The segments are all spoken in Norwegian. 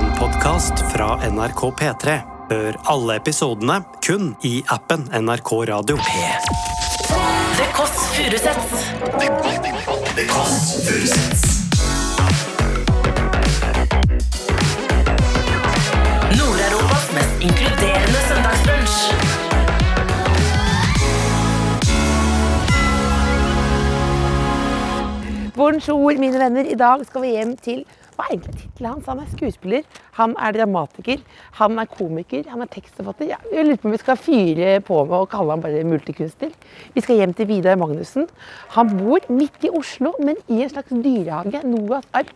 podkast fra NRK P3. Hør alle episodene kun i appen NRK Radio. Det Kåss Furuseths. Nord-Europas mest inkluderende søndagsbrunch. Bonjour, mine venner. I dag skal vi hjem til Hva er egentlig tittelen hans? Han er skuespiller, han er dramatiker, han er komiker, han er tekstforfatter. Ja, Jeg lurer på om vi skal fyre på med å kalle han bare multikunstner. Vi skal hjem til Vidar Magnussen. Han bor midt i Oslo, men i en slags dyrehage. Noahs ark.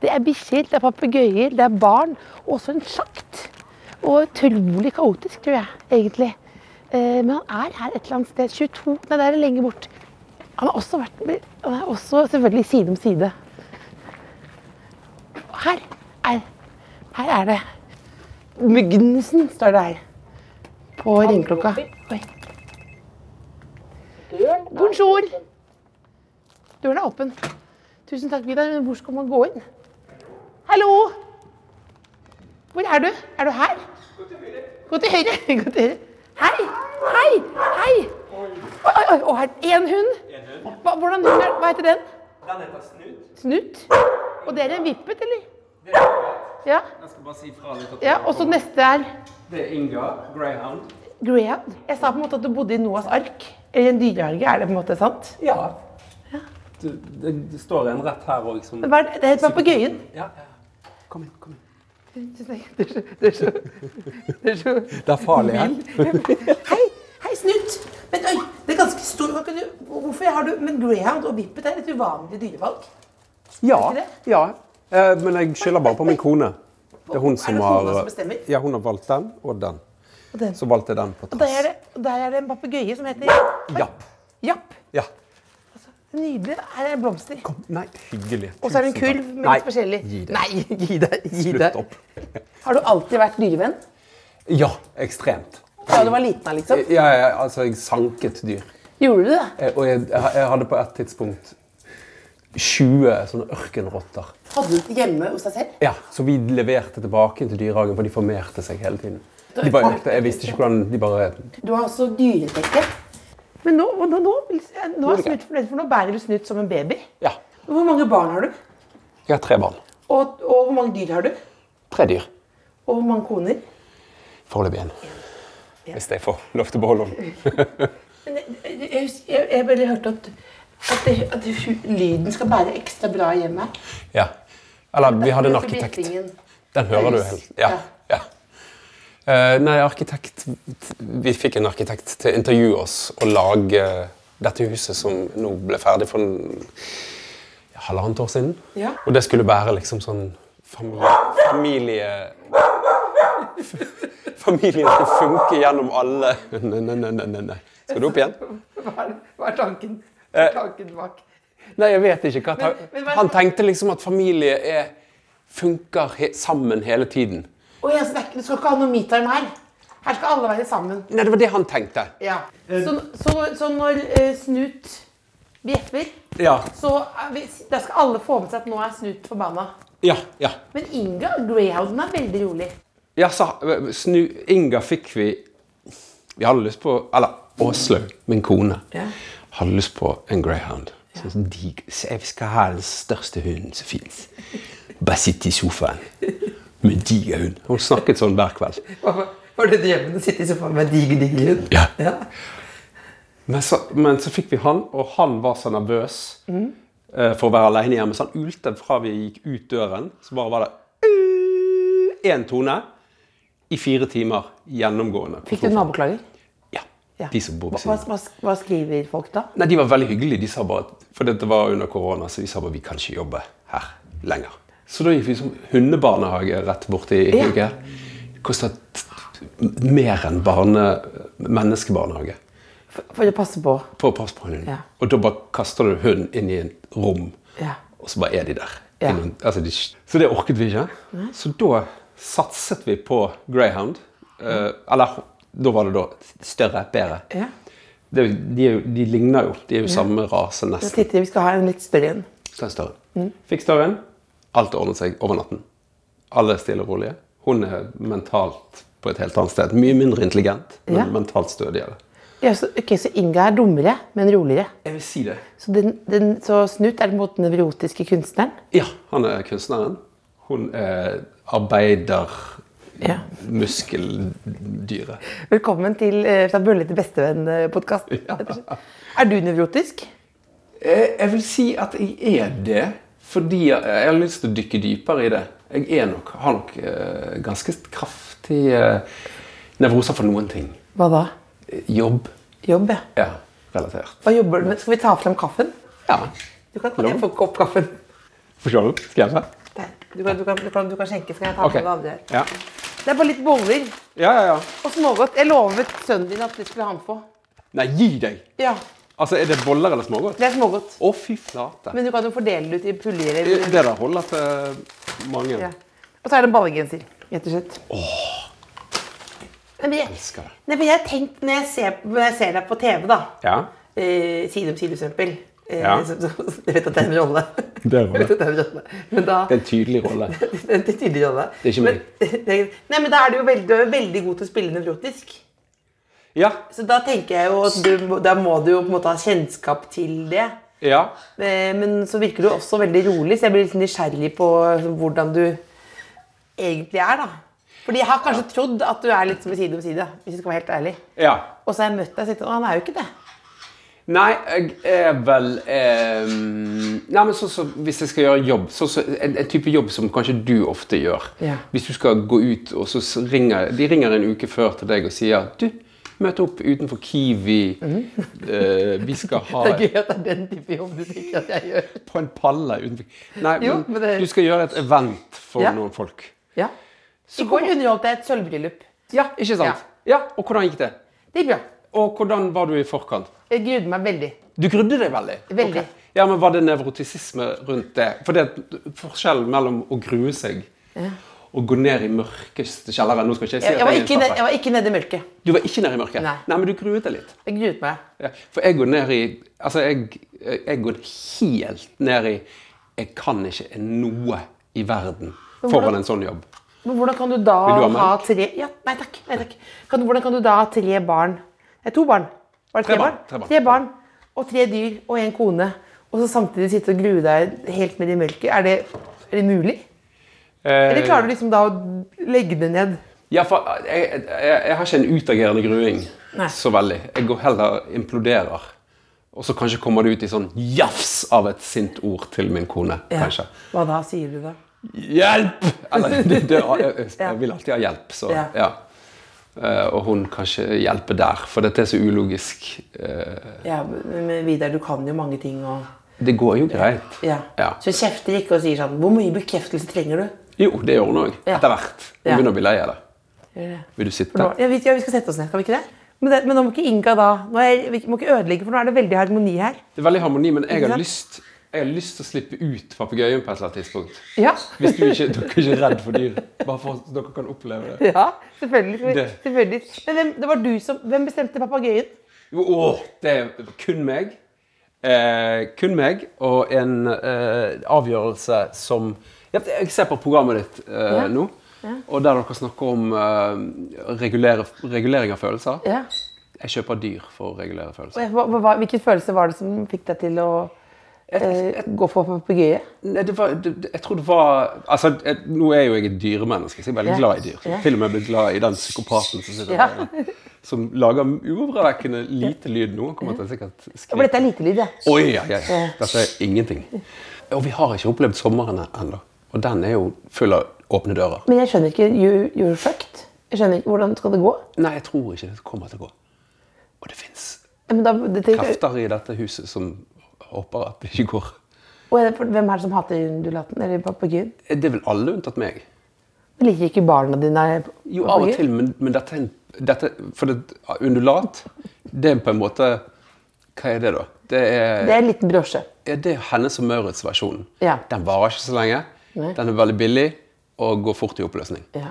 Det er bikkjer, det er papegøyer, det er barn. Og også en sjakt. Og utrolig kaotisk, tror jeg, egentlig. Eh, Men han er her et eller annet sted. 22 Nei, det er lenge bort. Han har også vært med, han er også selvfølgelig side om side. Og Her er, her er det. Muggensen står det her. På ringeklokka. Oi. Bonjour! Døren er åpen. Tusen takk, Vidar. Men hvor skal man gå inn? Hallo! Hvor er du? Er du her? Gå til høyre. Gå til høyre. Hei! Hei! Hei! Oi, oi, oi, og her er en hund. Hva, hvordan hund er, hva heter den? Den heter Snut. Snut. Og det er en vippet, eller? Det er greit. Ja. Jeg skal bare si fra litt. at- ja og så neste er Det er Inga, greyhound. Greyhound. Jeg sa på en måte at du bodde i Noas ark. Eller en dyrehage, er det på en måte sant? Ja. Du, det, det står en rett her liksom. òg som Men hva er det det heter papegøyen. Ja, ja. Kom inn, kom inn. Det er så Det er så, det er så. Det er farlig her. Hei, hei, Snut. Men oi, det er ganske stor Hva kan du, Hvorfor har du Men greyhound og vippet er et uvanlig dyrevalg. Ja. det? ja. Eh, Men jeg skylder bare på min kone. Det er hun som det har kona som bestemmer? Ja, hun har valgt den og den. Og den- Så valgte jeg den på og der er tass. det, og der er det en papegøye som heter Japp. Japp. Ja. Nydelig. Her er det blomster. Kom. Nei, hyggelig. Og så er det en Tusen takk. kulv med Nei, litt forskjellig. Gi det. Nei, gi deg. Gi Slutt deg. opp. Har du alltid vært dyrevenn? Ja, ekstremt. Fra du var liten av, liksom? Jeg, jeg, altså, jeg sanket dyr. Gjorde du det? Eh, Og jeg, jeg jeg hadde på et tidspunkt 20 sånne ørkenrotter. Hadde du det hjemme hos deg selv? Ja, Så vi leverte tilbake til dyrehagen, for de formerte seg hele tiden. De bare økte. Jeg visste ikke hvordan de bare Du har også dyretekke. Men nå, og nå, nå, nå er Gjorde Snut fornøyd, for nå bærer du Snut som en baby. Ja. Hvor mange barn har du? Jeg har tre barn. Og, og hvor mange dyr har du? Tre dyr. Og hvor mange koner? Foreløpig én. Hvis jeg får lov til å beholde den. Men jeg, jeg, husker- jeg, jeg bare hørte at, at, det, at det- lyden skal bære ekstra bra hjemme. Ja. Eller vi hadde en Derfor arkitekt. bjettingen. Den hører du helt. Ja. ja. Eh, nei, arkitekt Vi fikk en arkitekt til å intervjue oss og lage dette huset som nå ble ferdig for en, ja, halvannet år siden. Ja. Og det skulle være liksom sånn familie... familie Familien skal funke gjennom alle Nei, nei, nei, nei, nei, nei. Skal du opp igjen? Hva er, hva er tanken, hva Eh. er tanken bak? Nei, jeg vet ikke. Hva ta... Men- men hva er det Han som- tenkte liksom at familie er, funker he sammen hele tiden. Å, jeg snakker, du skal ikke ha noe meetime her. Her skal alle være sammen. Nei, det var det han tenkte. Ja. Så, så, så når eh, Snut bjeffer, Ja. så er vi, da skal alle få med seg at nå er Snut forbanna. Ja, ja. Men Inga, greyhounden, er veldig rolig. ja sa, snu, Inga fikk vi Vi hadde lyst på Eller Åslaug, min kone, Ja. hadde lyst på en greyhound. Sånn digg. Så jeg skal ha den største hunden som fins. Bare sitte i sofaen med en diger hund. Hun snakket sånn hver kveld. Var det drømmen å sitte i sofaen med en diger, diger hund? Ja. Men så, men så fikk vi han, og han var så nervøs Mm. eh, for å være alene hjemme. Så han ulte fra vi gikk ut døren. Så bare var det én tone i fire timer gjennomgående. Fikk du naboklager? Ja. Ja. De som bor ved hva, siden av. hva, hva skriver folk da? Nei, de var veldig hyggelige. De sa bare, at- for dette var under korona, så de sa bare vi kan ikke jobbe her lenger. Så da gikk vi som hundebarnehage rett borti Ja. Hauge. Det Kostet mer enn barne, menneskebarnehage. For, for å passe på. på å passe på hunden. Ja. Og da bare kaster du hunden inn i et rom, Ja. og så bare er de der. Ja. Innom- altså de, så det orket vi ikke. Så da satset vi på greyhound. Eh, eller da var det da større, bedre. Ja. Det, er jo- de, er jo, de ligner jo. De er jo samme rase, Da nesten. titter vi, vi skal ha en litt større en. Mm. Så en større. Fikk større. Alt ordnet seg over natten. Alle er stille og rolige. Hun er mentalt på et helt annet sted. Mye mindre intelligent, men Ja. mentalt stødigere. Ja, så, ok, så Inga er dummere, men roligere. Jeg vil si det. Så, den, den, så Snut er den måten nevrotiske kunstneren? Ja, han er kunstneren. Hun er Ja. arbeidermuskeldyret. Velkommen til eh, Fra bølle til bestevenn-podkast. Er du nevrotisk? Jeg, jeg vil si at jeg er det, fordi jeg, jeg har lyst til å dykke dypere i det. Jeg er nok, har nok eh, ganske kraftige eh, nevroser for noen ting. Hva da? Jobb. Jobb, ja. Ja, relatert. Hva jobber du med? Skal vi ta fram kaffen? Ja. Du kan Hallo? jeg får ikke opp kaffen. Får se opp. Skal jeg se? Der. Du, kan, du, kan, du, kan, du kan skjenke, så kan jeg ta Ok. med det andre. her. Ja. Det er bare litt boller ja, ja, ja. og smågodt. Jeg lovet sønnen din at det skulle han få. Nei, gi deg! Ja, Altså, Er det boller eller smågodt? Å, det er smågodt. fy flate. Men du kan jo fordele det ut i puljer. Det eller- det der holder til mange. Ja. Og så er det en ballegenser, rett og slett. Nei, men jeg, Elsker det. nei, men jeg har tenkt når jeg ser, når jeg ser deg på TV, da. Ja. eh, side om side eksempel. Eh, Ja. så, så, så, jeg vet at det er en rolle. Det er en rolle. Jeg vet at det er en rolle. Men da, Det er en tydelig rolle. det er en tydelig rolle. Det er ikke meg. Men, det er- nei, men da er du jo veldig, du er jo veldig god til å spille nevrotisk. Ja. Så da tenker jeg jo at du, må- da må du jo på en måte ha kjennskap til det. ja. Eh, Men så virker du også veldig rolig, så jeg blir litt nysgjerrig på altså, hvordan du egentlig er, da. Fordi jeg har kanskje trodd at du er litt som i side om side, hvis jeg skal være helt ærlig. Ja. Og så har jeg møtt deg og sett at han er jo ikke det. Nei, jeg er vel eh, Nei, men sånn som Hvis jeg skal gjøre jobb, sånn som en, en type jobb som kanskje du ofte gjør Ja. Hvis du skal gå ut, og så s- ringer de ringer en uke før til deg og sier Du, møt opp utenfor Kiwi. Eh, vi skal ha Mhm. Det er gøy at det er den type jobb du tenker at jeg gjør. På en palle utenfor Nei, Jo, men, men det- du skal gjøre et event for Ja. noen folk. Ja. I går underholdt jeg et sølvbryllup. Ja, ikke sant? Ja. Og hvordan gikk det? Det gikk bra. Og hvordan var du i forkant? Jeg grudde meg veldig. Du grudde deg veldig? Veldig. Ok. Ja, men Var det nevrotisisme rundt det? For det er forskjellen mellom å grue seg og gå ned i mørkeste kjelleren Nå skal ikke jeg si Jeg, jeg, at var, jeg ikke er ned, en jeg slappe. var ikke nede i mørket. Du var ikke nede i mørket? Nei. men du gruet deg litt. Jeg gruet meg. Ja. For jeg går ned i Altså, jeg, jeg går helt ned i Jeg kan ikke noe i verden Men hvordan- foran en sånn jobb. Men hvordan kan du da Vil du ha ha, tre ja, Nei takk. Nei, takk. Kan, hvordan kan du da ha tre barn Nei, to barn. Var det Tre tre barn? barn, tre barn. Og tre dyr og en kone. Og så samtidig sitte og grue deg helt ned i mørket. Er det, er det mulig? Eller klarer du liksom da å legge det ned? Ja, for eh, jeg, jeg, jeg har ikke en utagerende gruing Nei. så veldig. Jeg går heller imploderer. Og så kanskje kommer det ut i sånn jafs av et sint ord til min kone. kanskje. Hva da, sier du da? Hjelp! Eller, det, det, jeg, jeg, Ja. jeg vil alltid ha hjelp, så Ja. ja. Eh, og hun kan ikke hjelpe der, for dette er så ulogisk. Eh, Ja, men men Vidar, du kan jo mange ting og det går jo greit. Ja. Ja. Så kjefter ikke og sier sånn Hvor mye bekreftelse trenger du? Jo, det gjør hun òg. Ja. Etter hvert. Hun Ja. begynner å bli lei av det. Gjør det. Vil du For nå, sitte? ja, vi, ja, vi skal sette oss ned, kan vi ikke det? Men, det, men nå må ikke Inga da nå er, Vi må ikke ødelegge, for nå er det veldig harmoni her. Det er veldig harmoni, men jeg Ikke har sant? lyst, jeg har lyst til å slippe ut papegøyen på et eller annet tidspunkt. Ja, Hvis du ikke, dere er ikke redd for dyr, bare for at dere kan oppleve det. ja selvfølgelig. skal vi- Det- selvfølgelig. Men hvem, det var du som, hvem bestemte papegøyen? Jo, åh, det er kun meg. Eh, kun meg og en eh, avgjørelse som ja, Jeg ser på programmet ditt eh, Ja. nå, og der dere snakker om eh, regulere, regulering av følelser. Ja. Jeg kjøper dyr for å regulere følelser. Hva, hva, hvilken følelse var det som fikk deg til å eh, gå for papegøye? Nei, det var, det, det- jeg tror det var altså, jeg, Nå er jo jeg et dyremenneske, så jeg er veldig Ja. glad i dyr. Ja. Til og med blitt glad i den psykopaten som sitter Ja. der, som lager uovervekkende lite lyd nå. Han kommer til å sikkert Ja, for skrike. dette er lite lyd, ja. Oi, ja, ja, ja. Dette er ingenting. Og vi har ikke opplevd sommeren ennå. Og den er jo full av åpne dører. Men jeg skjønner ikke you, You're fucked. Jeg skjønner ikke, Hvordan skal det gå? Nei, jeg tror ikke det kommer til å gå. Og det fins Ja, Men da, det, det, krefter i dette huset som håper at det ikke går. og er det for, hvem er det som hater undulaten eller papegøyen? Det er vel alle unntatt meg. Liker ikke barna dine Jo, av og til, men, men dette, er en- dette For det, undulat, det er på en måte Hva er det, da? Det Det er en liten brosje. Ja, det er Hennes og Maurits versjon. Ja. Den varer ikke så lenge. Nei. Den er veldig billig og går fort i oppløsning. Ja.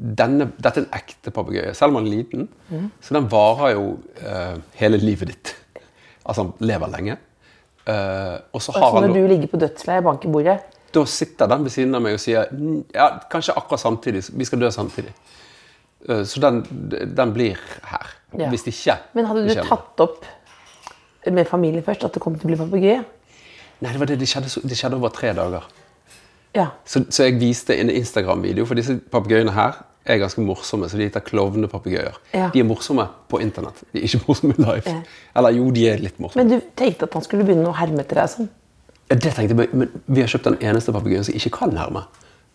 Denne, dette er en ekte papegøye, selv om den er liten. Mm. Så den varer jo eh, hele livet ditt. Altså, han lever lenge. Eh, og så har Så han når du ligger på dødsleiet og banker bordet, Da sitter den ved siden av meg og sier "Mm, ja, kanskje akkurat samtidig. Vi skal dø samtidig. Eh, Så den, den blir her. Ja. Hvis ikke Men hadde du ikke heller. tatt opp med familien først at det kom til å bli papegøye? Nei, det var det. Det skjedde, så- det skjedde over tre dager. Ja. Så, så jeg viste en Instagram-video, for disse papegøyene her er ganske morsomme. Så de heter klovnepapegøyer. Ja. De er morsomme på internett. De er ikke morsomme live. Ja. Eller jo, de er litt morsomme. Men du tenkte at han skulle begynne å herme etter deg sånn? Ja, det tenkte jeg, men- men vi har kjøpt den eneste papegøyen som ikke kan herme.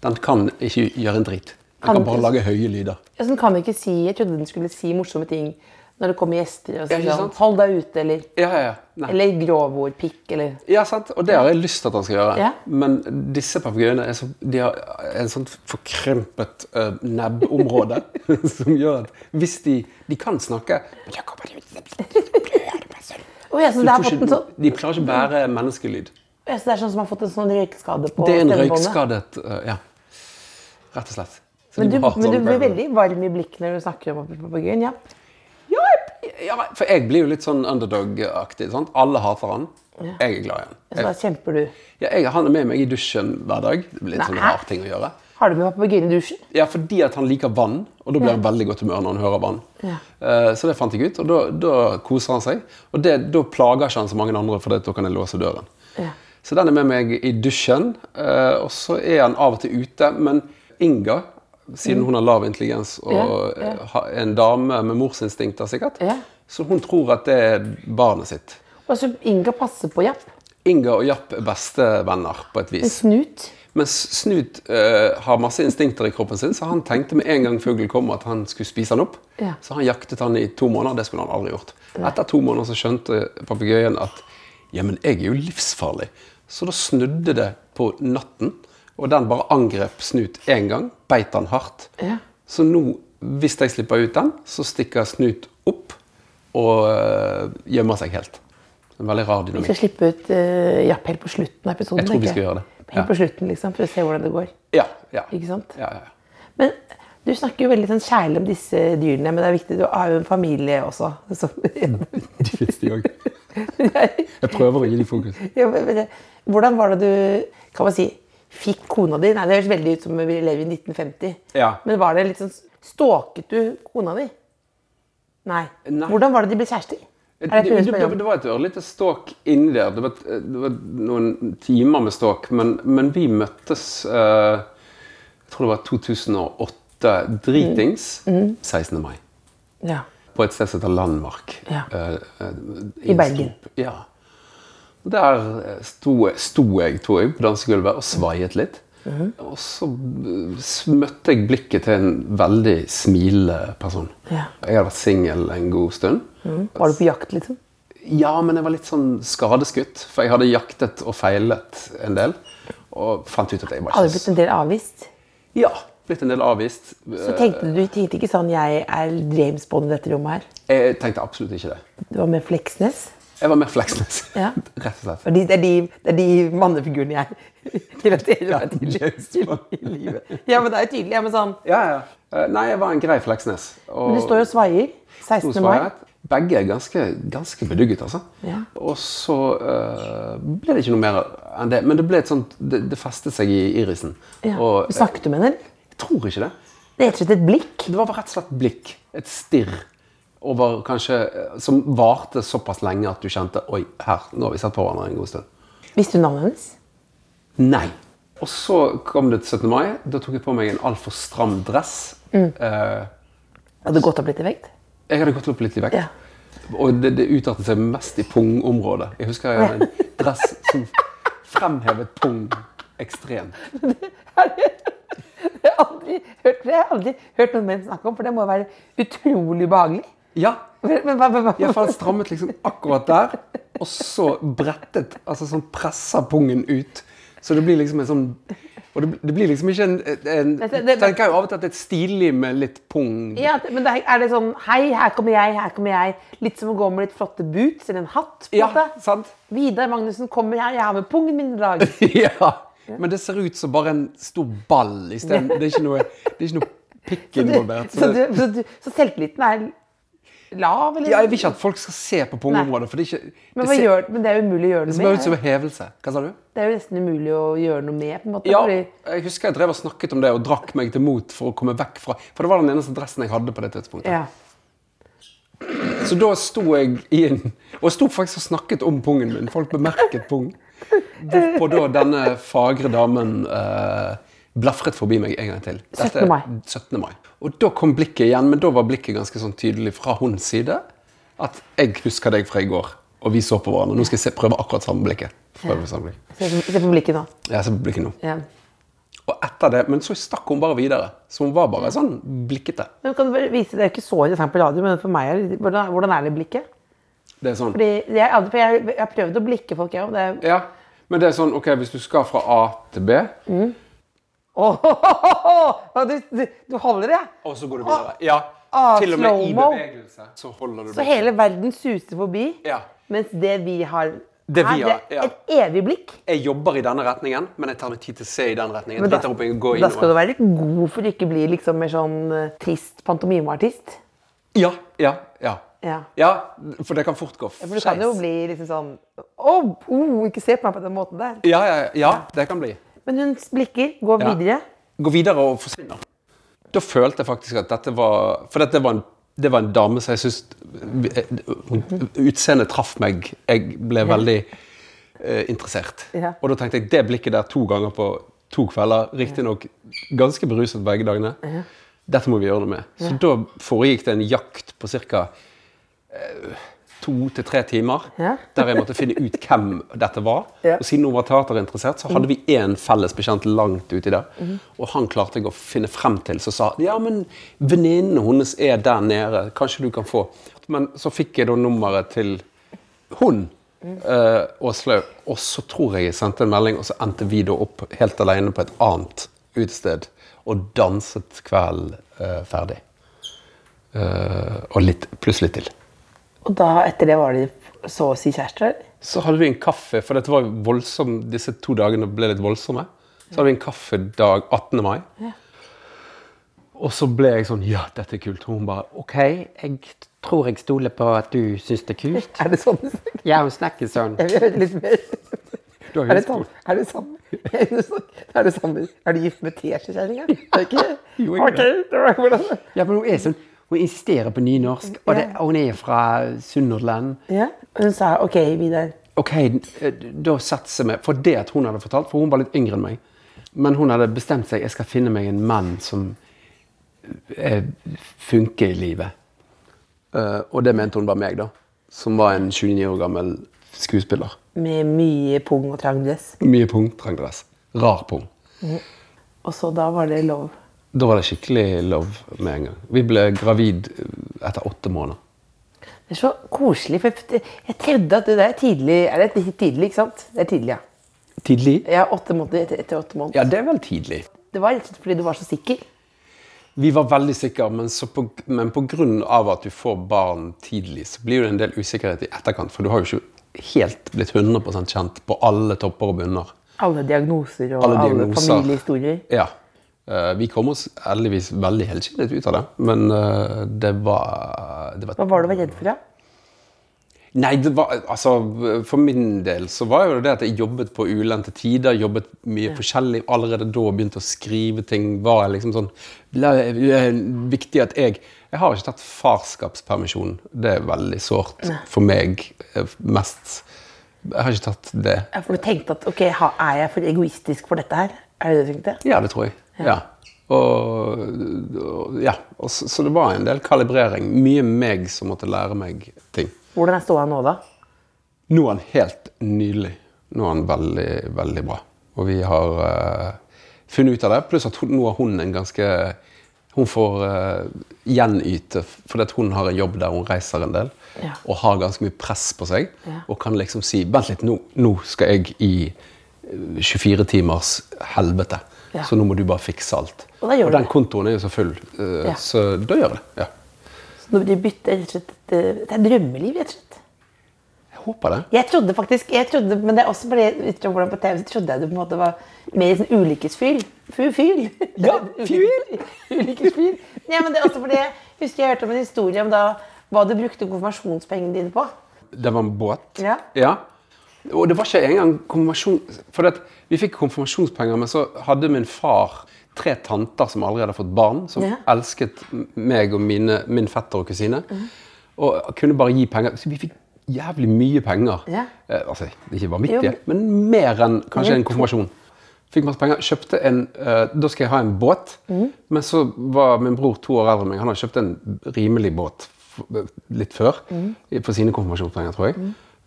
Den kan ikke gjøre en drit. Den Kan kan bare ikke- lage høye lyder. Ja, sånn kan vi ikke si. Jeg trodde den skulle si morsomme ting når det kommer gjester. og Ja, sånn, ikke sånn, sant? Hold deg ute, eller, Ja, ja, ja. Nei. eller grovord, pikk, eller ja, sant? Og det har jeg lyst til at han skal gjøre. Ja. Men disse papegøyene er så- de har en sånn forkrempet eh, nebbområde som gjør at hvis de, de kan snakke men da kommer de Å, jeg, så Du det har tror fått en ikke, sånn, sånn. de klarer ikke å bære menneskelyd. jeg, så det er sånn som har fått en sånn røykskade på Det er en stemmebåndet. røykskadet eh, Ja. Rett og slett. Så Men de du, må ha men du sånn- blir veldig varm i blikket når du snakker om papegøyen. Ja. ja, jeg- ja, for jeg blir jo litt sånn underdog-aktig. sant? Alle hater han. Jeg er glad i han. Så da Jeg, kjemper du. ja, jeg, han er med meg i dusjen hver dag. Det blir litt sånn Nei. rar ting å gjøre. Har du med papegøyen i dusjen? Ja, fordi at han liker vann, og da blir han veldig godt humør når han hører vann. Ja. Eh, Så det fant jeg ut, og da, da koser han seg. Og det, da plager ikke han så mange andre, for det- da kan jeg låse døren. Ja. Så den er med meg i dusjen, eh, og så er han av og til ute. Men Inga, siden hun har lav intelligens og Mm. Ja, ja. eh, har- er en dame med morsinstinkter sikkert, Ja. så hun tror at det er barnet sitt. Og så Inga passer på Japp. Inga og Japp er bestevenner på et En vis. snut. Mens Snut eh, har masse instinkter i kroppen sin, så han tenkte med en gang fuglen kom at han skulle spise han opp. Ja. Så han jaktet han i to måneder. Det skulle han aldri gjort. Etter to måneder så skjønte papegøyen at ja, men jeg er jo livsfarlig. Så da snudde det på natten, og den bare angrep Snut én gang. Beit han hardt. Ja. Så nå, hvis jeg slipper ut den, så stikker Snut opp og eh, gjemmer seg helt. En veldig rar Vi skal dynamikk. slippe ut eh, Japp helt på slutten av episoden. Jeg tror vi tenker skal gjøre det. Helt på slutten, liksom, for å se hvordan det går. Ja, ja. Ikke sant? Ja, ja, ja. Men du snakker jo veldig sånn kjærlig om disse dyrene, men det er viktig, du har jo en familie også. Så, De finnes, de òg. Jeg prøver å gi dem fokus. Ja, men- men det- hvordan var det du kan man si, fikk kona di? Nei, Det høres veldig ut som vi lever i 1950. Ja. Men var det litt sånn, stalket du kona di? Nei. Nei. Hvordan var det de ble kjærester? Er Det, det et det, mulig det, spørsmål? det var et ørlite ståk inni der. Det var, et- eh, det var noen timer med ståk, men, men vi møttes eh, Jeg tror det var 2008, dritings. Mm. 16. mai. Ja. På et sted som heter Landmark. Ja. eh, eh, Bergen. Stop- Ja. Og Der eh, sto, sto jeg, tror jeg, på dansegulvet og svaiet litt. Mhm. Og så eh, s- møtte jeg blikket til en veldig smilende person. Ja. Mm. Jeg hadde vært singel en god stund. Var du på jakt, liksom? Ja, men jeg var litt sånn skadeskutt. For jeg hadde jaktet og feilet en del. Og fant ut at jeg var Hadde du ikke blitt en del avvist? Ja, blitt en del avvist. Så tenkte du tenkte ikke sånn Jeg er James Bond i dette rommet her. Jeg tenkte absolutt ikke det. Du var med Fleksnes. Jeg var mer Fleksnes. Ja. Rett og slett. For de, det, er de, det er de mannefigurene jeg relaterer meg til James til Bond. i livet. Ja, men det er jo tydelig. Ja, men sånn Ja, ja. Eh, Nei, jeg var en grei Fleksnes. Og Men du står og svaier. 16. mai. Sosvariet. Begge er ganske, ganske bedugget, altså. Ja. Og så eh, ble det ikke noe mer enn det. Men det ble et sånt, det, det festet seg i irisen. Ja. Og jeg, Snakket du med henne? jeg tror ikke det. Det er rett og slett et blikk. Det var rett og slett blikk. Et stirr. Over kanskje, eh, som varte såpass lenge at du kjente Oi, her, nå har vi sett på hverandre en god stund. Visste du navnet hennes? Nei. Og så kom det til 17. mai. Da tok jeg på meg en altfor stram dress. Eh, Hadde du gått opp litt i vekt? jeg hadde gått opp litt i vekt. Ja. Og det, det utartet seg mest i pungområdet. Jeg husker jeg hadde en dress som fremhevet pung ekstremt. Jeg har aldri hørt, det har jeg aldri hørt noen menn snakke om, for det må være utrolig behagelig. Ja, Men, men, hva- hva- hva- Ja, for han strammet liksom akkurat der, og så brettet, altså sånn pressa pungen ut. Så det blir liksom en sånn Og det, det blir liksom ikke en, en Men det- det- Tenker jo av og til at det er stilig med litt pung. ja, men det er, er det sånn Hei, her kommer jeg, her kommer jeg. Litt som å gå med litt flotte boots eller en hatt. på en Ja, måte. sant? Vidar Magnussen kommer her, jeg har med pungen min i dag. Ja. Men det ser ut som bare en stor ball isteden. Det er ikke noe, det er ikke noe pikk Så, du, involvert. så, Så det, du, så, du, så selvtilliten er lav, eller? Ja, jeg vil ikke at folk skal se på pungeområdet, for det er ikke men, det hva ser- gjør, men det er jo umulig å gjøre Det noe ser bare ut med. som en hevelse. Hva sa du? Det er jo nesten umulig å gjøre noe med, på en måte. Ja, Fordi, jeg husker jeg drev og snakket om det og drakk meg til mot for å komme vekk fra For det var den eneste dressen jeg hadde på det tidspunktet. ja. Så da sto jeg i en Og jeg sto faktisk og snakket om pungen min. Folk bemerket pung. Hvorpå da denne fagre damen eh, blafret forbi meg en gang til. 17. mai. 17. mai. Og da kom blikket igjen, men da var blikket ganske sånn tydelig fra hennes side. At jeg husker deg fra i går, og vi så på hverandre. Nå skal jeg se, prøve akkurat samme blikket. Prøve samme blikk. Se, se på blikket nå. Jeg ser på blikket nå. Ja. Og etter det, Men så stakk hun bare videre. Så hun var bare sånn blikkete. Men kan du bare vise, Det er jo ikke så interessant på radio, men for meg er det, hvordan, hvordan er det blikket? Det er sånn, Fordi jeg, har aldri- for jeg, jeg har prøvd å blikke folk, jeg òg. Det er ja, Men det er sånn, ok, hvis du skal fra A til B, Åh, Du, du, du holder det? ja. og så går du videre. Ja, Ah, Til og med i slow-mo. bevegelse. Så holder du Så hele verden suser forbi, Ja. mens det vi har Det vi her, har, det ja. er et evig blikk. Jeg jobber i denne retningen, men jeg tar meg tid til å se i den retningen. Men da, Titter opp og går da skal du innover. være god for å ikke bli liksom mer sånn eh, trist pantomimeartist. Ja, ja, ja. Ja. Ja, for det kan fort gå For du kan jo skeis. bli liksom sånn Å, oh, ikke se på meg på den måten der. Ja, ja, ja, det kan bli. Men hun blikker, går Ja. videre. Gå videre og forsvinner. Da følte jeg faktisk at dette var For dette var en, det var en dame som jeg syns Utseendet traff meg. Jeg ble veldig eh, interessert. Ja. Og da tenkte jeg det blikket der to ganger på to kvelder, riktignok ganske beruset begge dagene, dette må vi gjøre noe med. Så da foregikk det en jakt på ca. to til tre timer. Ja. Der jeg måtte finne ut hvem dette var. Ja. Og siden hun var teaterinteressert, så hadde vi én felles bekjent langt uti der. Og han klarte jeg å finne frem til, så sa ja, men venninnen hennes er der nede, kanskje du kan få Men så fikk jeg da nummeret til hun. eh, Åslaug. og så tror jeg jeg sendte en melding, og så endte vi da opp helt alene på et annet utested og danset kvelden eh, ferdig. Eh, og litt, pluss litt til. Og da, etter det, var de så å si kjærester? Så hadde vi en kaffe, for dette var jo voldsom, disse to dagene ble litt voldsomme. Så hadde vi en kaffedag 18. mai. Og så ble jeg sånn Ja, dette er kult. Og hun bare OK. Jeg tror jeg stoler på at du syns det er kult. Er det sånn du snakker? Ja, hun snakker sånn. Jeg vil høre litt mer. Du har Er det hørt sammen? Er det sammen? Er det sammen? Er det sammen? Er du gift med Tesje-kjerringa? Er det ikke? Jo, jeg er Ok, det var hvordan Ja, men hun er sånn. Hun insisterer på nynorsk, og, det, og hun er fra Sunnhordland. Ja, hun sa OK, Vidar. OK, eh, da satser vi For det at hun hadde fortalt, for hun var litt yngre enn meg. Men hun hadde bestemt seg jeg skal finne meg en mann som eh, funker i livet. Eh, og det mente hun var meg, da. Som var en 29 år gammel skuespiller. Med mye pung og trang dress. Mye pung, trang dress. Rar pung. Og så da var det lov. Da var det skikkelig love med en gang. Vi ble gravid eh, etter åtte måneder. Det er så koselig. for Jeg jeg trodde at det der er tidlig. Er det litt tidlig, ikke sant? Det er tidlig, ja. Tidlig? Jeg har åtte måneder etter, etter åtte måneder. Ja, det er vel tidlig. Det var rett og slett fordi du var så sikker. Vi var veldig sikre, men, så på, men på grunn av at du får barn tidlig, så blir det en del usikkerhet i etterkant, for du har jo ikke helt blitt 100 kjent på alle topper og bunner. Alle diagnoser og Alle alle, diagnoser. familiehistorier. Ja. Eh, Vi kom oss heldigvis veldig helskinnet ut av det, men eh, det var, det var Hva var det du var redd for? da? Nei, det var, altså, for min del så var jo det at jeg jobbet på ulendte tider, jobbet mye forskjellig. Allerede da begynte å skrive ting. Var jeg liksom sånn la- eh, Viktig at jeg Jeg har ikke tatt farskapspermisjon. Det er veldig sårt for meg eh, mest. Jeg har ikke tatt det. Ja, For du tenkte at OK, ha- er jeg for egoistisk for dette her? Er det det du tenkte? Ja, det tror jeg. Ja. Og, og, ja. Og, så, så det var en del kalibrering. Mye meg som måtte lære meg ting. Hvordan er ståa nå, da? Nå er han helt nydelig. Nå er han veldig, veldig bra. Og vi har eh, funnet ut av det. Pluss at hun, nå har hun en ganske Hun får eh, gjenyte, fordi at hun har en jobb der hun reiser en del. Ja. Og har ganske mye press på seg. Ja. Og kan liksom si Vent litt, nå, nå skal jeg i eh, 24 timers helvete. Ja. Så nå må du bare fikse alt. Og da gjør du den det. kontoen er jo så full, eh, Ja. så da gjør jeg det. Ja. Så når de bytter rett og slett, Det det er drømmeliv, rett og slett. Jeg håper det. Jeg trodde faktisk, jeg trodde, men det er også fordi jeg utover hvordan på TV, så trodde jeg det på en måte var mer sånn ulykkesfyr. Fyr, fyr. Ja, fyr. Ulykkesfyr. Nei, men det er også fordi jeg husker jeg hørte om en historie om da hva du brukte konfirmasjonspengene dine på. Det var en båt. Ja. Og det var ikke engang konfirmasjon... For det, at vi fikk konfirmasjonspenger, men så hadde min far tre tanter som allerede hadde fått barn, som Ja. elsket m- meg og mine, min fetter og kusine. Mhm. Og kunne bare gi penger. Så vi fikk jævlig mye penger. Ja. Eh, altså, det er ikke Jo, vanvittig, men- men mer enn kanskje en konfirmasjon. Fikk masse penger, kjøpte en, eh, Da skal jeg ha en båt. Mm. Men så var min bror to år eldre enn meg. Han hadde kjøpt en rimelig båt f- eh, litt før. Mm. i- For sine konfirmasjonspenger, tror jeg.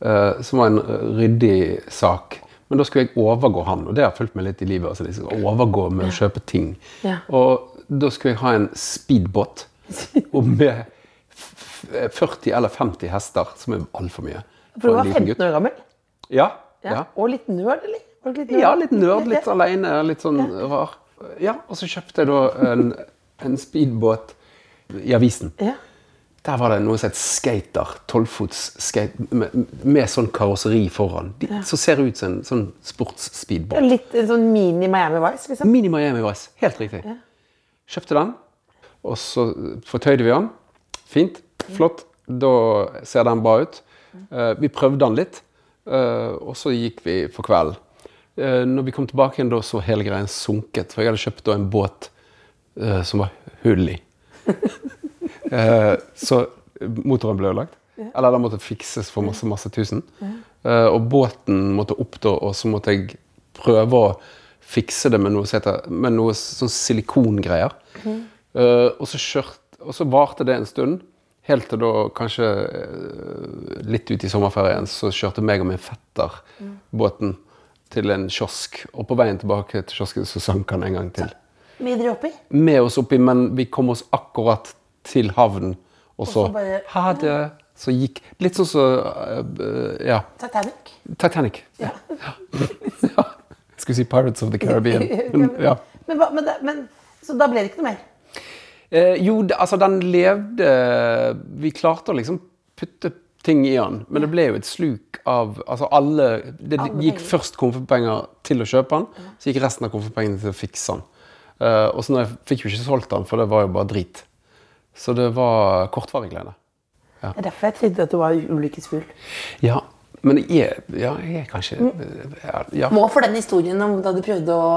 Eh, som var en eh, ryddig sak. Men da skulle jeg overgå han, og det har fulgt meg litt i livet. Altså, liksom, overgå med å kjøpe ting. Ja. Og da skulle jeg ha en speedbåt. Og med f- f- 40 eller 50 hester, som er altfor mye. For du en var liten 15 gutt. år gammel. Ja, Ja. ja. Og litt nerd, eller? Var du Litt Ja, litt nerd, litt ja. alene, litt sånn rar. Ja, og så kjøpte jeg da en, en speedbåt i avisen. Ja. Der var det noe som het skater, tolvfots skate, med, med sånn karosseri foran. De, Så ser det ut som en sånn Ja, sportsspeedbåt. Litt en sånn mini Miami Vice, liksom. Mini Miami Vice, helt riktig. Kjøpte den, og så fortøyde vi den. Fint, flott, da ser den bra ut. Eh, vi prøvde den litt, eh, og så gikk vi for kvelden. Eh, når vi kom tilbake igjen, da så hele greien sunket, for jeg hadde kjøpt da en båt eh, som var hull i. Eh, så motoren ble ødelagt. Eller den måtte fikses for masse, masse tusen. Eh, og båten måtte opp da, og så måtte jeg prøve å fikse det med noe, som heter, med noe sånn silikongreier. Eh, og, så kjørt, og så varte det en stund, helt til da kanskje eh, litt ut i sommerferien så kjørte meg og min fetter båten til en kiosk. Og på veien tilbake til kiosken så sank han en gang til Videre oppi. med oss oppi, men vi kom oss akkurat til havnen. Og så så bare- Ha det! Så gikk Litt sånn som eh, Ja. Titanic. Titanic. Ja. ja. Jeg Skulle si Pirates of the Caribbean. Men, ja. Men, hva- men, det- men, så da ble det ikke noe mer? Eh, jo, det- altså, den levde Vi klarte å liksom putte ting i den, men det ble jo et sluk av Altså alle Det gikk først konfirmasjonspenger til å kjøpe den, så gikk resten av konfirmasjonspengene til å fikse den. Eh, og så når jeg fikk jo ikke solgt den, for det var jo bare drit. Så det var kortvarig glede. Det er derfor jeg trodde at du var ulykkesfugl. Ja, men jeg er, ja, jeg er kanskje ja, ja. Må for den historien om da du prøvde å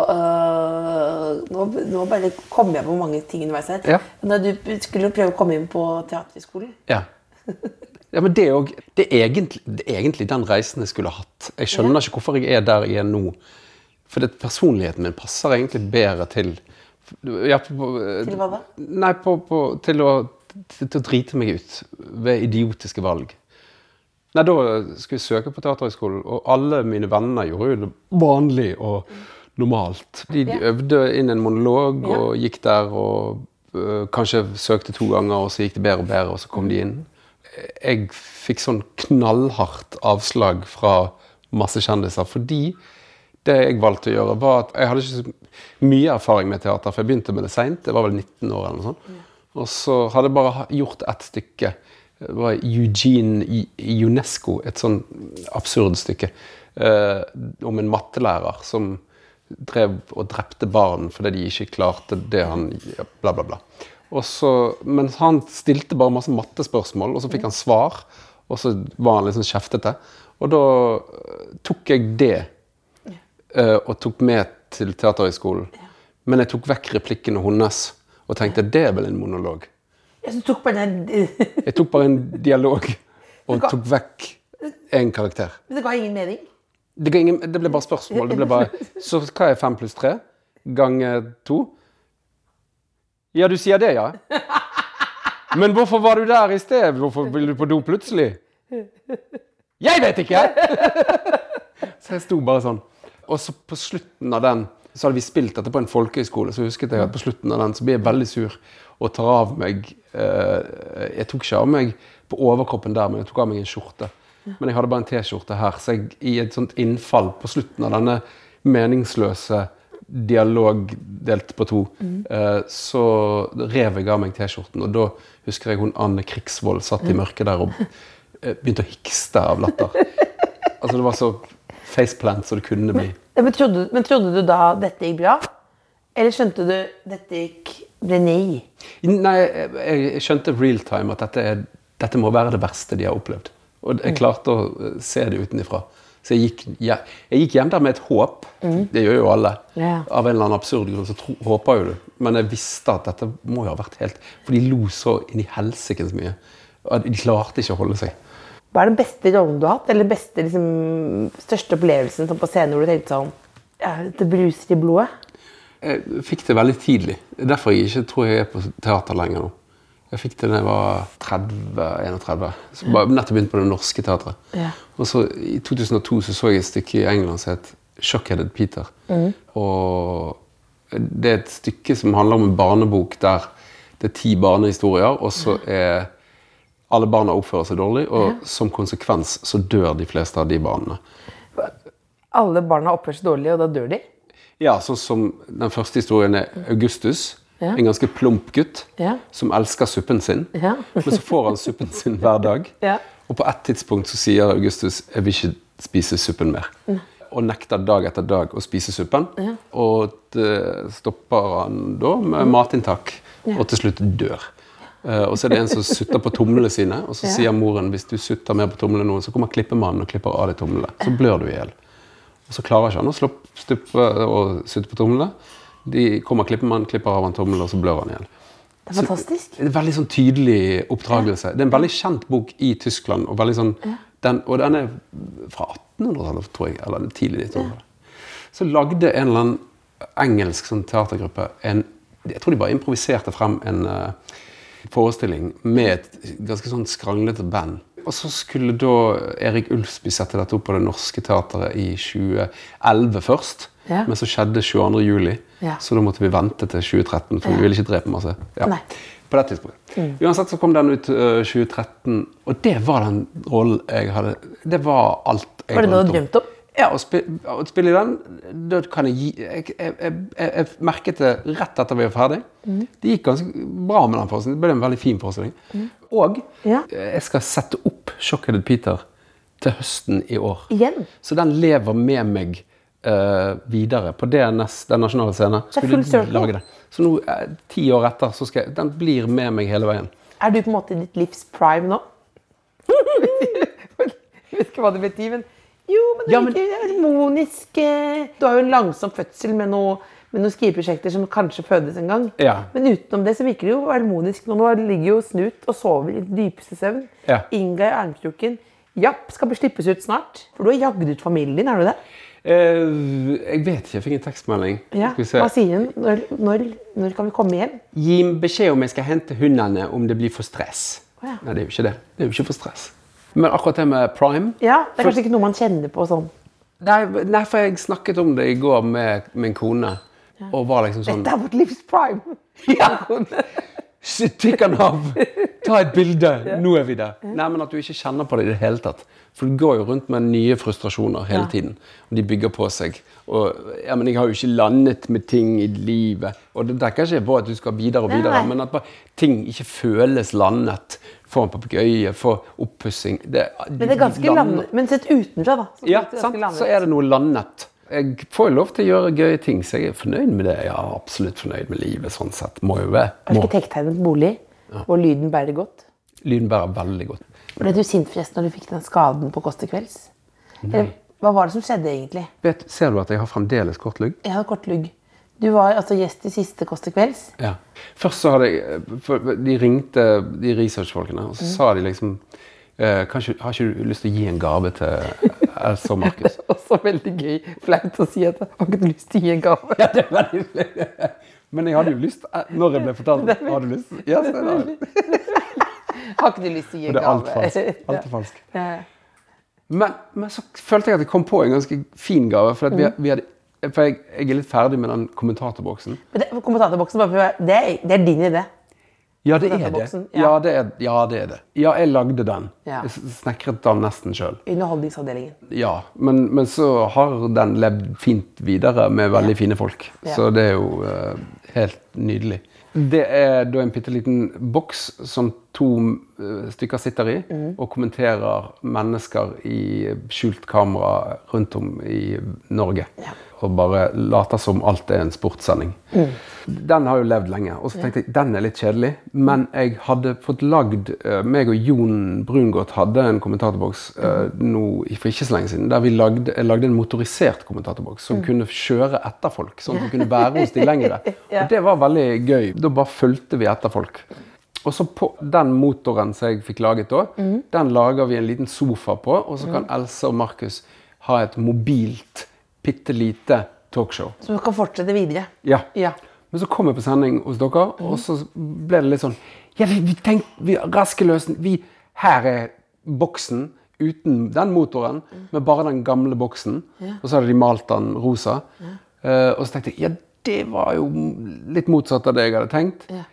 øh, nå, nå bare kom jeg på mange ting underveis her. Ja. Da du skulle prøve å komme inn på teaterskolen. Ja. ja men det er, jo- det, er egentlig, det er egentlig den reisen jeg skulle hatt. Jeg skjønner ikke hvorfor jeg er der jeg er nå. For det, personligheten min passer egentlig bedre til ja, på, Til hva da? Nei, på, på, til, å, til, til å drite meg ut ved idiotiske valg. Nei, da skulle jeg søke på Teaterhøgskolen, og alle mine venner gjorde jo det vanlig og normalt. De, de øvde inn en monolog og gikk der og øh, kanskje søkte to ganger, og så gikk det bedre og bedre, og så kom de inn. Jeg fikk sånn knallhardt avslag fra masse kjendiser fordi det jeg valgte å gjøre, var at jeg hadde ikke så mye erfaring med teater, for jeg begynte med det seint. Jeg var vel 19 år eller noe sånt. Og så hadde jeg bare ha- gjort ett stykke. Det var Eugene I- Ionesco, et sånn absurd stykke eh, om en mattelærer som drev og drepte barn fordi de ikke klarte det han ja, Bla, bla, bla. Og så, men han stilte bare masse mattespørsmål, og så fikk han svar. Og så var han litt sånn kjeftete. Og da eh, tok jeg det eh, og tok med til Teaterhøgskolen. Men jeg tok vekk replikkene hennes og tenkte det er vel en monolog. Jeg som tok bare den Men Jeg tok bare en dialog og ga- tok vekk en karakter. det ga ingen mening. Det, ga ingen, det ble bare spørsmål. Det ble bare, så hva er fem pluss tre ganger to? Ja, du sier det, ja. Men hvorfor var du der i sted? Hvorfor ville du på do plutselig? Jeg vet ikke! Så jeg sto bare sånn. Og så på slutten av den så hadde vi spilt dette på en folkehøyskole, så husket jeg at på slutten av den så ble jeg veldig sur og tar av meg eh, Jeg tok ikke av meg på overkroppen der, men jeg tok av meg en skjorte. Men jeg hadde bare en T-skjorte her, så jeg, i et sånt innfall på slutten av denne meningsløse dialog delt på to, eh, så rev jeg av meg T-skjorten. Og da husker jeg hun Anne Krigsvold satt i mørket der og eh, begynte å hikste av latter. Altså, det var så faceplant som det kunne bli. Ja, Men trodde, men trodde du da dette gikk bra? Eller skjønte du dette gikk ble nei? Nei, jeg, jeg skjønte real time at dette er Dette må være det verste de har opplevd. Og jeg klarte å eh, se det utenifra. Så jeg gikk, je- jeg gikk hjem der med et håp. Det gjør jo alle. Ja. Av en eller annen absurd grunn så tro, håper jo du. Men jeg visste at dette må jo ha vært helt For de lo så inn i helsikens mye. At de klarte ikke å holde seg. Hva er den beste rollen du har hatt, eller den beste, liksom, største opplevelsen sånn på scenen hvor du tenkte sånn ja, Det bruser i blodet. Jeg fikk det veldig tidlig. Det er Derfor jeg ikke tror jeg er på teater lenger nå. Jeg fikk det da jeg var 30-31. Så bare Nettopp begynt på det norske teatret. Ja. Og så I 2002 så, så jeg et stykke i England som het 'Shockheaded Peter'. Og det er et stykke som handler om en barnebok der det er ti barnehistorier, og så er alle barna oppfører seg dårlig, og som konsekvens så dør de fleste av de barna. Alle barna oppfører seg dårlig, og da dør de. Ja, sånn som den første historien er Augustus. Ja. En ganske plump gutt Ja. som elsker suppen sin. Ja. Men så får han suppen sin hver dag. Ja. Og på et tidspunkt så sier Augustus 'jeg vil ikke spise suppen mer'. Og nekter dag etter dag å spise suppen. Og det stopper han da med matinntak, og til slutt dør. Eh, Og så er det en som sutter på tomlene sine, og så sier moren 'hvis du sutter mer på tomlene nå, så kommer klippemannen og klipper av deg tomlene'. Så blør du i hjel. Og så klarer ikke han å slå opp stuppe og sutte på tomlene. De kommer klippemannen, klipper av han tommelen, og så blør han igjen. Det er fantastisk. En veldig sånn tydelig oppdragelse. Det er en veldig kjent bok i Tyskland. Og, veldig sånn, den, og den er fra 1800-tallet, tror jeg. Eller tidlig 1900-tallet. Så lagde en eller annen engelsk sånn, teatergruppe en Jeg tror de bare improviserte frem en eh, forestilling med et ganske sånn skranglete band. Og så skulle da Erik Ulfsby sette dette opp på Det Norske Teatret i 2011 først. Ja. Men så skjedde 22. juli, Ja. så da måtte vi vente til 2013. For vi ville ikke drepe masse. Ja. Nei. Mm. På det tidspunktet. Uansett så kom den ut eh, 2013, og det var den rollen jeg hadde Det var alt jeg Var det noe du drømte drømte om? Ja, å, spi å spille i den, da kan jeg gi jeg, jeg, jeg, jeg, jeg merket det rett etter vi var ferdig. Mm. Det gikk ganske bra med den forestillingen. Det ble en veldig fin forestilling. Og Mm. Ja. eh, jeg skal sette opp 'Shockheaded Peter' til høsten i år. Igjen? Så den lever med meg eh, videre på DNS, den nasjonale scenen. Det er full Skulle circle. lage det. Så nå, eh, ti år etter, så skal jeg, den blir med meg hele veien. Er du på en måte i ditt livs prime nå? jeg vet ikke hva det betyr, men Jo, men det Ja, men- virker harmonisk eh, Du har jo en langsom fødsel med noe med noen skriveprosjekter som kanskje fødes en gang. Ja. Men utenom det så virker det jo harmonisk. Nå ligger jo Snut og sover i dypeste søvn. Ja. Inga i armkroken. Japp skal bli slippes ut snart. For du har jagd ut familien din, er du det? Eh, jeg vet ikke, jeg fikk en tekstmelding. Ja. Skal vi Hva se. sier hun? Når, når, når kan vi komme hjem? Gi beskjed om jeg skal hente hundene om det blir for stress. Å ja. Nei, det er jo ikke det. Det er jo ikke for stress. Men akkurat det med prime Ja, Det er kanskje ikke noe man kjenner på sånn. Nei, nei, for jeg snakket om det i går med min kone. Og var liksom sånn Dette er vårt livs prime! Ja! Tikk han av! Ta et bilde! Nå er vi der. Nei, men At du ikke kjenner på det i det hele tatt. For du går jo rundt med nye frustrasjoner hele tiden. Og de bygger på seg. Og ja, men 'Jeg har jo ikke landet med ting i livet.' Og det dekker ikke på at du skal videre og videre, Nei. men at bare ting ikke føles landet. Få en papegøye, få oppussing Men det er ganske land... Men sett utenfra, da. så ja, virker det ganske liksom. sant? landet. så er det noe landet. Jeg får jo lov til å gjøre gøye ting, så jeg er fornøyd med det. Jeg er absolutt fornøyd med livet, sånn sett. Må jo være. Må. Arkitekttegnet bolig, hvor lyden bærer godt. Lyden bærer veldig godt. Ble du sint forresten når du fikk den skaden på Kåss til kvelds? Eller, hva var det som skjedde egentlig? Vet, ser du at jeg har fremdeles kort lugg? Jeg hadde kort lugg. Du var altså gjest i siste Kåss til kvelds. Ja. Først så hadde jeg, for de ringte de researchfolkene, og så sa de liksom eh, kanskje, Har ikke du lyst til å gi en gave til Else og Markus? Også veldig gøy. Flaut å si at jeg har ikke lyst til å gi en gave. Ja, det er veldig flaut. Men jeg hadde jo lyst, eh, når jeg ble fortalt Har du lyst? Ja, så da. Har ikke du lyst til å gi en Det er gave? alt falskt. Alt er falskt. Ja. Men, men så følte jeg at jeg kom på en ganske fin gave. For, at vi, Mm. vi hadde, for jeg, jeg er litt ferdig med den kommentatorboksen. Men det, kommentatorboksen, bare for å være- det, er- det er din idé. Ja, det er det. Kommentatorboksen, ja. Ja, det er, ja, det er det. Ja, jeg lagde den. Ja. Jeg s- snekret den nesten sjøl. Underholdningsavdelingen. Ja, men, men så har den levd fint videre med veldig fine folk. Ja. Så det er jo eh, helt nydelig. Det er da en bitte liten boks som to eh, stykker sitter i, Mm. og kommenterer mennesker i skjult kamera rundt om i Norge. Og bare later som alt er en sportssending. Den har jo levd lenge, og så tenkte jeg den er litt kjedelig. Men jeg hadde fått lagd eh, meg og Jon Brungot hadde en kommentatorboks eh, nå, i- for ikke så lenge siden, der vi lagde, jeg lagde en motorisert kommentatorboks som kunne kjøre etter folk. Sånn at vi kunne være hos de lengre. Ja. Og det var veldig gøy. Da bare fulgte vi etter folk. Og så på den motoren som jeg fikk laget da, den lager vi en liten sofa på, og så kan Else og Markus ha et mobilt, bitte lite talkshow. Som kan fortsette videre. Ja. Ja. Mhm. Men så kom jeg på sending hos dere, og så ble det litt sånn Ja, vi, vi tenkte vi, Raske løsen vi, Her er boksen uten den motoren, Mhm. med bare den gamle boksen. Og så hadde de malt den rosa. Eh, og så tenkte jeg ja, det var jo litt motsatt av det jeg hadde tenkt. Ja.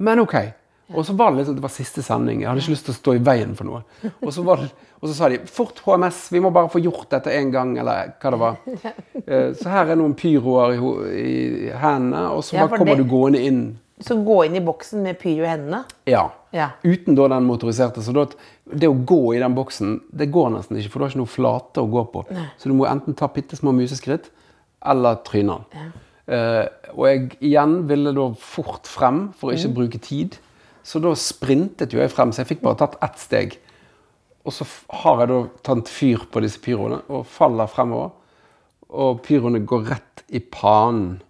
Men OK. Og så var det liksom, det var siste sending. Jeg hadde ikke lyst til å stå i veien for noe. Og så, var det, og så sa de 'Fort HMS, vi må bare få gjort dette én gang', eller hva det var. Eh, Så her er noen pyroer i, ho- i hendene, og så Ja, bare for kommer det- du gående inn. Så gå inn i boksen med pyro i hendene. Ja. Ja. Uten da den motoriserte. Så da, det å gå i den boksen, det går nesten ikke, for du har ikke noe flate å gå på. Så du må enten ta bitte små museskritt, eller tryne den. Eh, og jeg igjen ville da fort frem, for å ikke bruke tid. Så da sprintet jo jeg frem, så jeg fikk bare tatt ett steg. Og så f- har jeg da tatt fyr på disse pyroene, og faller fremover. Og pyroene går rett i panen.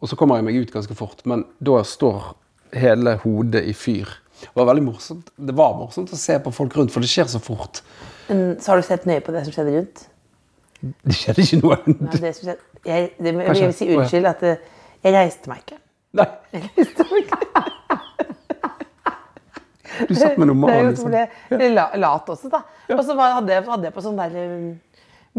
Og så kommer jeg meg ut ganske fort, men da står hele hodet i fyr. Det var veldig morsomt. Det var morsomt å se på folk rundt, for det skjer så fort. Men Så har du sett nøye på det som skjedde rundt? Det skjedde ikke noe. Nei, det som skjedde. Jeg, det, jeg, Kanskje. vil si unnskyld at eh, jeg reiste meg ikke. Nei. Du satt med noe Det er jo mal, som liksom. det, eller la- lat også, da. Og så var- hadde jeg, hadde jeg på sånn der um,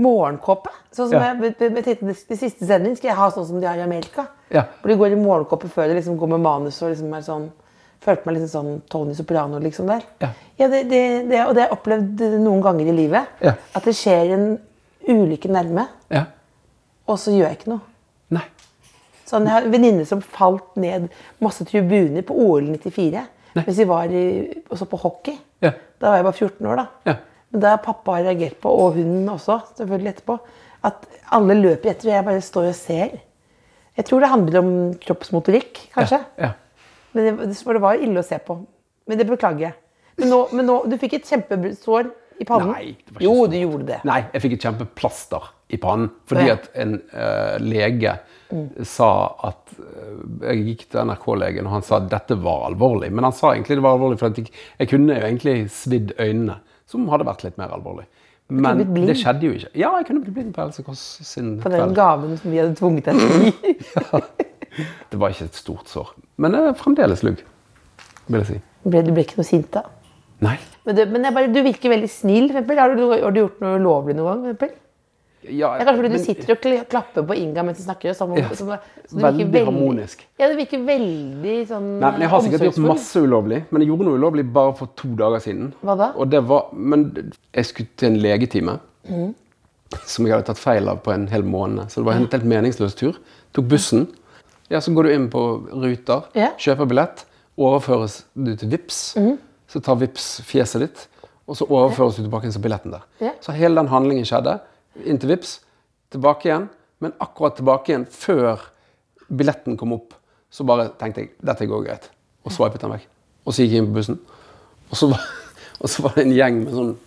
morgenkåpe. Sånn som Ja. jeg, jeg, jeg tenkte, det- det siste sendingen skal jeg ha sånn som de har i Amerika. Ja. Hvor de går i morgenkåpe før de liksom går med manus og liksom er sånn Følte meg liksom sånn Tony Soprano liksom der. Ja. det, det, det, og det har jeg opplevd noen ganger i livet. Ja. At det skjer en ulykke nærme, Ja. og så gjør jeg ikke noe. Nei. Sånn, jeg har en venninne som falt ned masse tribuner på OL 94. Mens vi var i, også på hockey. Ja. Da var jeg bare 14 år, da. Ja. Men da har pappa reagert på, og hunden også, selvfølgelig etterpå, at alle løper etter, og jeg bare står og ser. Jeg tror det handler om kroppsmotorikk, kanskje. Ja. Men det, det var- det var ille å se på. Men det beklager jeg. Men nå, men nå du fikk et kjempesår i pannen. Nei, det var ikke jo, sånn. du gjorde det. Nei, jeg fikk et kjempeplaster i pannen. Fordi Ja. Mm. at en eh, lege sa at eh, Jeg gikk til NRK-legen, og han sa at dette var alvorlig. Men han sa egentlig det var alvorlig, for at jeg, jeg kunne jo egentlig svidd øynene. Som hadde vært litt mer alvorlig. Men blitt blind. det skjedde jo ikke. Ja, jeg kunne blitt blind på Else Kåss sin På den kveld. gaven som vi hadde tvunget deg til å gi. Det var ikke et stort sår. Men det er fremdeles lugg, vil jeg si. Ble- Du ble ikke noe sint da? Nei. Men, det, men jeg bare, du virker veldig snill. for Eksempel. Har, du, har du gjort noe ulovlig noen gang? for eksempel? Ja, Det er kanskje fordi men- du sitter og kl- klapper på Inga mens du snakker. og Som, om- Ja, som, så du veldig virker veldig harmonisk. Ja, du virker veldig sånn Nei, men Jeg har sikkert gjort omsorgsfull. masse ulovlig, men jeg gjorde noe ulovlig bare for to dager siden. Hva da? Og det var, men jeg skulle til en legetime som jeg hadde tatt feil av på en hel måned. Så det var en helt meningsløs tur. Tok bussen. Ja, Så går du inn på Ruter, Ja. kjøper billett, overføres du til VIPS, Mhm. så tar VIPS fjeset ditt, og så overføres du tilbake igjen som billetten der. Ja. Så hele den handlingen skjedde. Inn til VIPS, tilbake igjen, men akkurat tilbake igjen før billetten kom opp, så bare tenkte jeg dette går greit. Og swipet den vekk. Og så gikk jeg inn på bussen. Og så var, og så var det en gjeng med sånn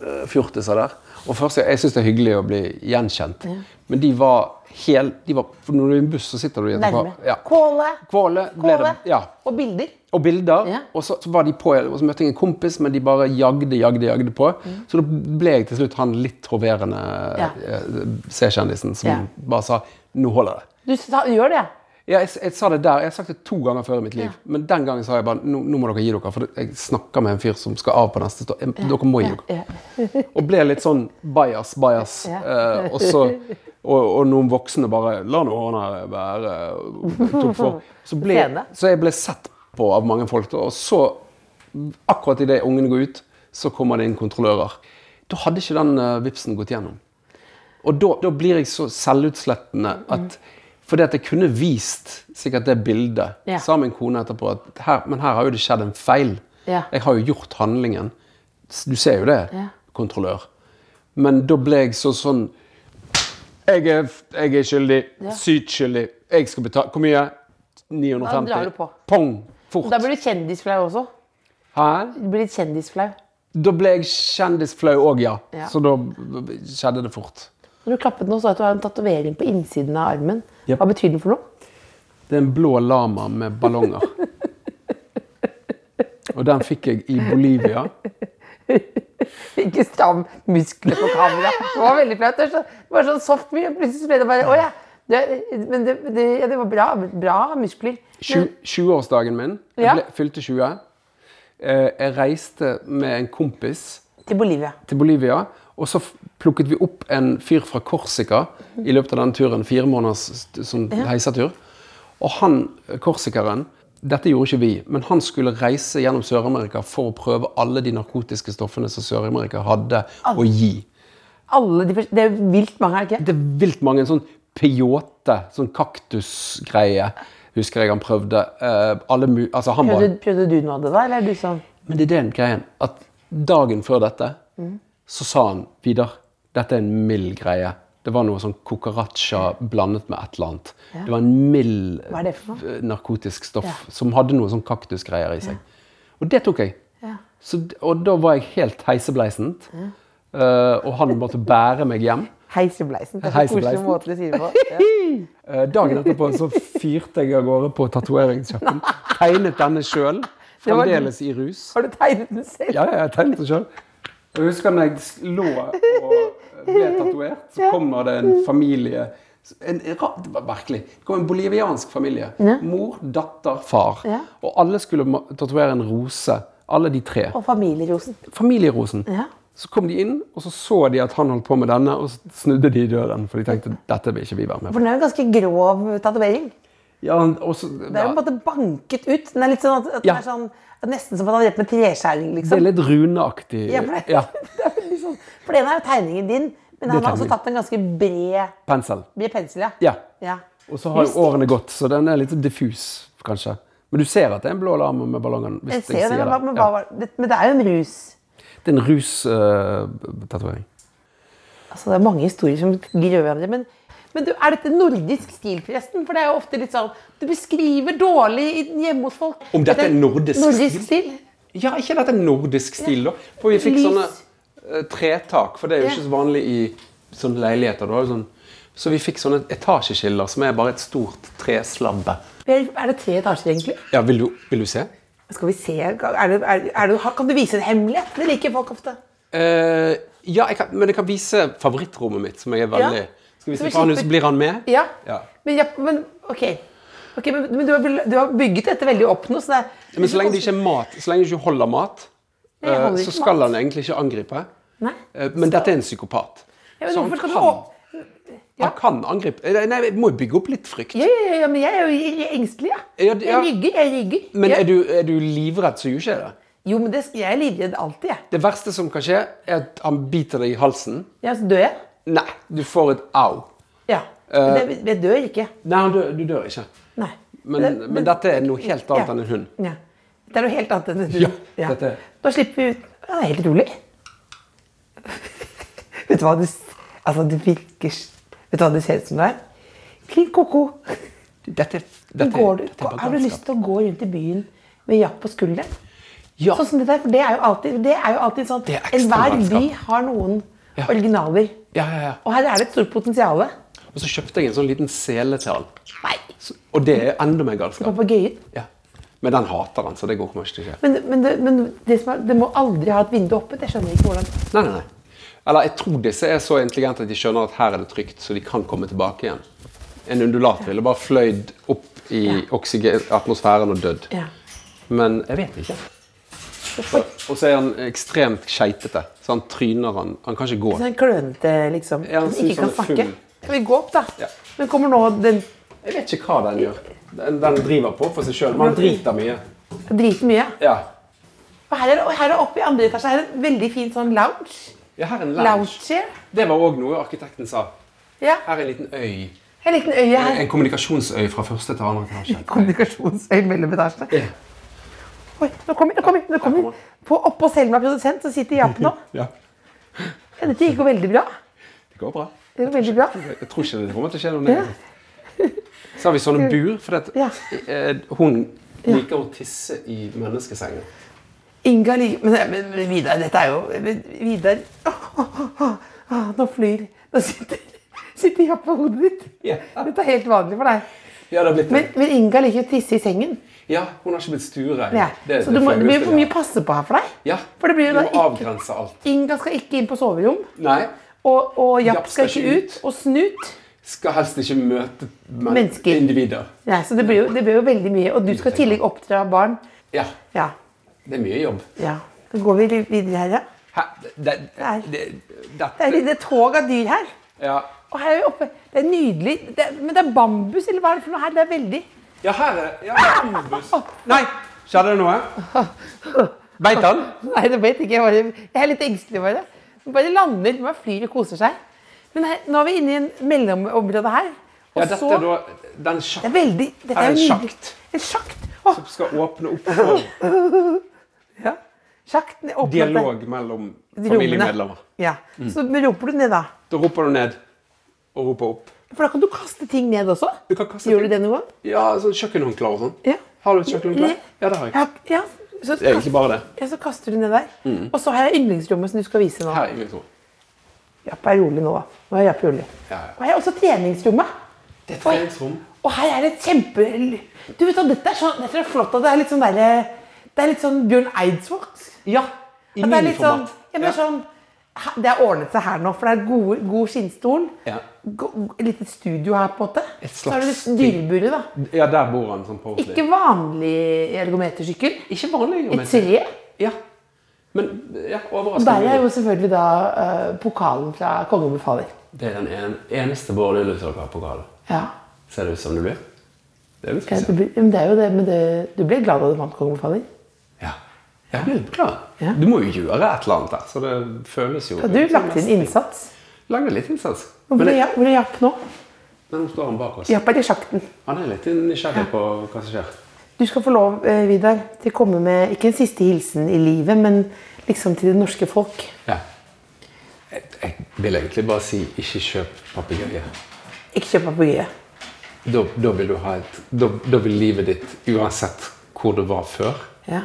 eh, fjortiser der. Og først, Jeg syns det er hyggelig å bli gjenkjent, men de var hel, de var, for Når du er i en buss, så sitter du i et Nærme. Ja. Kåle. Kåle ble det, Kåle. ja. Og bilder. Og bilder. Ja. Og så, så var de på, og så møtte jeg en kompis, men de bare jagde, jagde, jagde på. Så da ble jeg til slutt han litt hoverende Mm. Ja. eh, C-kjendisen som Ja. bare sa 'nå holder det'. Du sa, gjør det, ja. Ja, jeg, jeg sa det der, jeg har sagt det to ganger før i mitt liv, men den gangen sa jeg bare nå, nå må dere gi dere, for jeg snakker med en fyr som skal av på neste stå. Jeg- Dere må gi dere. ja. Og ble litt sånn bias, bias. Ja. Eh, og, så, og, og noen voksne bare La nå han være. og tok for. Så, ble, Scene. så jeg ble sett på av mange folk, da, og så, akkurat idet ungene går ut, så kommer det inn kontrollører. Da hadde ikke den eh, vipsen gått gjennom. Og da, da blir jeg så selvutslettende at Fordi at jeg kunne vist sikkert det bildet Ja. sammen med kona etterpå. At her, men her har jo det skjedd en feil. Ja. Jeg har jo gjort handlingen. S- Du ser jo det, Ja. kontrollør. Men da ble jeg så sånn Jeg er, f- jeg er skyldig. Sykt skyldig. Jeg skal betale Hvor Da mye? 950. drar du på. Pong! Fort. Da blir du kjendisflau også. Hæ? Du blir litt kjendisflau. Da ble jeg kjendisflau òg, ja. Ja. Så da b- skjedde det fort. Når du klappet nå, så jeg at du har en tatovering på innsiden av armen. Jep. Hva betyr den for noe? Det er en blå lama med ballonger. Og den fikk jeg i Bolivia. Ikke stram musklene på kamera. Det var veldig flaut. Det er så- det var sånn soft mye. Plutselig så ble det bare Å ja. Det, men det, det, ja, det var bra, bra muskler. Tju- 20-årsdagen min. Ja. Jeg ble, fylte 20. Eh, Jeg reiste med en kompis Til Bolivia. til Bolivia. Og så f- plukket vi opp en fyr fra Korsika i løpet av den turen. Fire måneders st- sånn heisetur. Og han eh, korsikeren Dette gjorde ikke vi, men han skulle reise gjennom Sør-Amerika for å prøve alle de narkotiske stoffene som Sør-Amerika hadde å gi. Alle de, forskjellige- det er vilt mange, er det ikke? Det er vilt mange sånn peyote, sånn kaktusgreie, husker jeg han prøvde. Eh, alle mu altså han var, Prøvde, prøvde du noe av det da? Eller er du sånn men det er den greien at dagen før dette, Mm. så sa han, Vidar, dette er en mild greie. Det var noe sånn cucaracha blandet med et eller annet. Det var en mild Hva er det for noe? eh, narkotisk stoff Ja. som hadde noe sånn kaktusgreier i seg. Og det tok jeg. Så, d- og da var jeg helt heisebleisent. Eh, og han måtte bære meg hjem. heisebleisen? Det er så koselig Heisebleisen. måte å si det på. Ja. Eh, Dagen etterpå så fyrte jeg av gårde på tatoveringssjappen. Tegnet denne sjøl. var- Fremdeles i rus. Har du tegnet den selv? Ja, ja, jeg tegnet den sjøl. Jeg husker når jeg s- lå og ble tatovert, så kommer det en familie en, ra- det var Virkelig. Det kom en boliviansk familie. Mor, datter, far. Ja. Og alle skulle ma- tatovere en rose. Alle de tre. Og familierosen. Familierosen. Ja. Så kom de inn, og så så de at han holdt på med denne, og så snudde de i døren. For de tenkte dette vil ikke vi være med For på. den er jo en ganske grov tatovering. Ja, og så, Det er jo ja. på en måte banket ut. Den er litt sånn at, at Ja. den er sånn at Nesten som at han har drept med treskjæring, Det er liksom. litt runeaktig. Ja, for, det, Ja, det er veldig sånn. for den er jo tegningen din, men han har tegningen. også tatt en ganske bred, pensel. bred pensel, ja. Ja. Ja. Og så har jo årene gått, så den er litt diffus, kanskje. Men du ser at det er en blå lame med ballongen. Jeg Hvis ser jo jeg det, sier men, hva- men, det. hva Ja. var, det, men det er jo en rus. Det er en eh, rustatovering. Altså, det er mange historier som grør hverandre. Men, men du, er dette nordisk stil, forresten? For det er jo ofte litt sånn Du beskriver dårlig i- hjemme hos folk. Om dette er nordisk nordisk stil? ja, ikke dette nordisk stil, da. For vi fikk Lys. sånne eh, tretak, for det er jo Ja. ikke så vanlig i sånne leiligheter. Det var jo sånn. Så vi fikk sånne etasjeskiller som er bare et stort treslabbe. Er er det tre etasjer, egentlig? Ja, vil du, vil du se? Skal vi se er det, er, er det, Kan du vise en hemmelighet? Det liker folk ofte. Eh, ja, jeg kan, men jeg kan vise favorittrommet mitt, som jeg er veldig Ja. Skal vi Så se vi på han, slipper- så blir han med? Ja. Ja. Men, ja, men ok. Ok, men, men du, har, vel- du har bygget dette veldig opp nå, så det er Men så lenge det ikke er mat, så lenge du ikke holder mat, Nei, jeg holder eh, ikke så skal mat. han egentlig ikke angripe. Nei. Eh, Men dette er en psykopat. Ja, men så hvorfor han skal du kan, å- Ja. han kan angripe. Eh, Nei, jeg må jo bygge opp litt frykt. ja, ja, ja, men jeg er jo jeg er engstelig, ja. Ja, det- ja. Jeg rygger, jeg rygger. Men ja. er du, er du livredd, så gjør ikke jeg det. Jo, men det, skal- jeg er livredd alltid, jeg. Det verste som kan skje, er at han biter deg i halsen. Ja, så dør jeg. Nei, du får et au. Ja. Eh. Men det, jeg dør ikke. Nei, han dør, du dør ikke. Nei. Men, men, dette er noe helt annet Ja. enn en hund. Ja. Det er noe helt annet enn en hund. Ja, dette er- Da slipper vi ut. Ja, det er helt utrolig. Vet du hva det, s- altså, det virker s- Vet du hva det ser ut som det er? Klin koko. Dette, dette, Går du, dette er har du bagalskap. lyst til å gå rundt i byen med jakk på skulderen? Ja. Sånn som det der, for det er jo alltid, det er jo alltid sånn Det er ekstra Enhver by mannskap. har noen Ja. originaler. Ja, ja, ja. Og her er det et stort potensial. Og så kjøpte jeg en sånn liten sele til han. Nei. Så- Og det er enda mer galskap. Papegøyen. Ja. Men den hater han, så det går kommer ikke til å skje. Men, men, det, men det, som er, det må aldri ha et vindu oppe. Det skjønner jeg ikke hvordan Nei, nei, nei. Eller jeg tror disse er så intelligente at de skjønner at her er det trygt, så de kan komme tilbake igjen. En undulat ville bare fløyd opp i oksygen, atmosfæren og dødd. Ja. Men jeg vet ikke. Og så er han ekstremt skeitete, så han tryner han. Han kan ikke gå. Sånn klønete, liksom. Ja, han som synes ikke kan han er snakke. full. Skal vi gå opp, da? Ja. Men kommer nå den Jeg vet ikke hva den gjør. Den, den driver på for seg sjøl, men han driter mye. driter mye. Ja. Og her er, og her er oppe i andre etasje her er en veldig fin sånn lounge. ja, her er en Lounge lounge. chair. Det var òg noe arkitekten sa. Ja. Her er en liten øy. En liten øye her. En kommunikasjonsøy fra første til andre etasje. Kommunikasjonsøy mellom etasjene. Oi, nå kommer, nå kommer, nå kommer. På Oppå Selma produsent så sitter Japp nå. Ja, Ja, Dette gikk jo veldig bra. det går bra. Det går veldig bra. Jeg tror ikke det kommer til å skje noe negativt. Så har vi sånne bur, for at, Ja. eh, hun liker å tisse i menneskesengen. Inga lik... Men, eh, men, men Vidar, dette er jo men, Vidar Åh, åh, åh, åh, Nå flyr Nå sitter, sitter Japp på hodet ditt. Ja. Dette er helt vanlig for deg. Ja, det har blitt Men, men Inga liker jo å tisse i sengen. Ja, hun har ikke blitt stuerein. Ja. Det- Så det du må, får jeg det blir lyst for til, mye passe på her for deg. Ja, For det blir jo du da må ikke avgrense alt. Inga skal ikke inn på soverom, Nei, og, og Japp skal ikke ut. Og Snut skal helst ikke møte men Mennesker. individer. Nei, så det blir, jo, det blir jo veldig mye. Og du skal i tillegg oppdra barn. Ja, Ja. det er mye jobb. ja. Da går vi litt videre her, ja. Hæ? Det, Nei. det, Det er dette et lite tog av dyr her. ja. Og her er vi oppe. Det er nydelig. Det er, men det er bambus, eller hva er det for noe her? Det er veldig ja, her er ja, bambus. Nei, skjedde det noe? Beit han? Nei, det vet ikke. Jeg, bare, jeg er litt engstelig bare. Den bare lander, man flyr og koser seg. Men her, nå er vi inne i en mellomområde her. Og Ja, dette så er da den Det er sjakten veldig Dette Er er, det jo en nydelig. sjakt? En sjakt. Å, som skal åpne opp for ja. Sjakten er åpen. dialog mellom Rommene. familiemedlemmer. Mm. Ja. Så roper du ned, da. Da roper du ned og roper opp. For da kan du kaste ting ned også. Du kan kaste Gjør ting. du det noen gang? Ja, sånn kjøkkenhåndklær og sånn. Ja. Har du et kjøkkenhåndklær? Nei. Ja, det har jeg. Ja, ja. Så, Det er egentlig bare det. ja, så kaster du ned der. Og så har jeg yndlingsrommet som du skal vise nå. Her er jeg, Japp er rolig nå, da. Nå er Japp rolig. Ja, ja. Og her er også treningsrommet. Det er et treningsrom. Og her er det et kjempe... Du vet hva, dette er, sånn, dette er flott at det er litt sånn derre Det er litt sånn Bjørn Eidsvåg. Ja, i At det er litt sånn, miniformat. ja, men det er sånn he- Det har ordnet seg her nå, for det er gode, god skinnstol. Ja. Go- Et lite studio her, på en måte. Et Så har du slags litt dyreburet, da. Ja, der bor han sånn på ordentlig. Ikke vanlig ergometersykkel. Ikke vanlig Et tre. Ja. Men ja, Der overraskende. er jo selvfølgelig da eh, pokalen fra kongen befaler. Det er den en, eneste Bård Lilletorg har på gala. Ja. Ser det ut som det blir? Det er litt Ja, du, spesielt. blir- men det er jo det, men det, du ble glad da du vant kongen befaler? Ja. Jeg blir klar. Ja. Du må jo gjøre et eller annet der, så det føles jo Har du lagt inn innsats? Lagde litt innsats. Hvor Men er det- Japp- hvor er Japp nå? men nå står han bak oss. Japp er i sjakten. Han er litt nysgjerrig på hva som skjer. Du skal få lov, eh, Vidar, til å komme med ikke en siste hilsen i livet, men liksom til det norske folk. Ja. Jeg, jeg vil egentlig bare si ikke kjøp papegøye. Ikke kjøp papegøye. Da, da vil du ha et da, da vil livet ditt, uansett hvor det var før, Ja.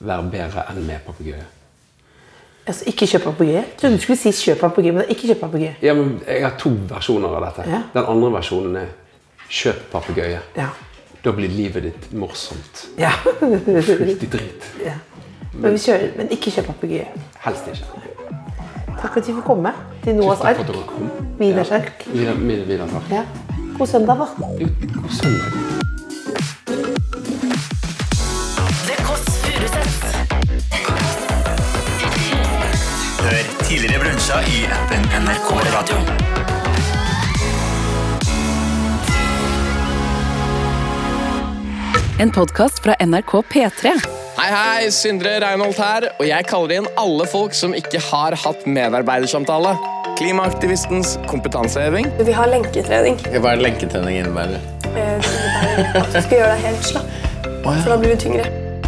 være bedre enn med papegøye. Altså, ikke kjøp papegøye. Jeg trodde du skulle si kjøp papegøye, men ikke kjøp papegøye. Ja, men jeg har to versjoner av dette. Ja. Den andre versjonen er kjøp papegøye. Ja. Da blir livet ditt morsomt. Ja. Fullt i drit. ja. Men, vi kjører, men ikke kjøp papegøye. Helst ikke. Takk for at vi får komme til Noas Takk for ark. at dere kom. Vidars ark. Vidar, Vidar, Vidar, takk. Ja. God søndag, da. Jo, sånn god søndag. Det Kåss Furuseths. Hør tidligere brunsja i appen NRK Radio. En podkast fra NRK P3. Hei, hei, Sindre Reinholdt her, og jeg kaller inn alle folk som ikke har hatt medarbeidersamtale. Klimaaktivistens kompetanseheving. Vi har lenketrening. Hva er lenketrening innebærer? Eh, Det innebærer at du skal gjøre deg helt slapp, for da blir du tyngre.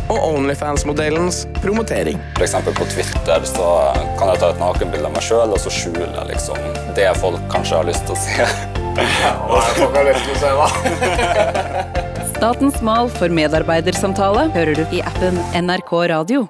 Og Onlyfans-modellens promotering. For eksempel på Twitter så kan jeg ta et nakenbilde av meg sjøl og så skjule liksom, det folk kanskje har lyst til å se. Statens mal for medarbeidersamtale hører du i appen NRK Radio.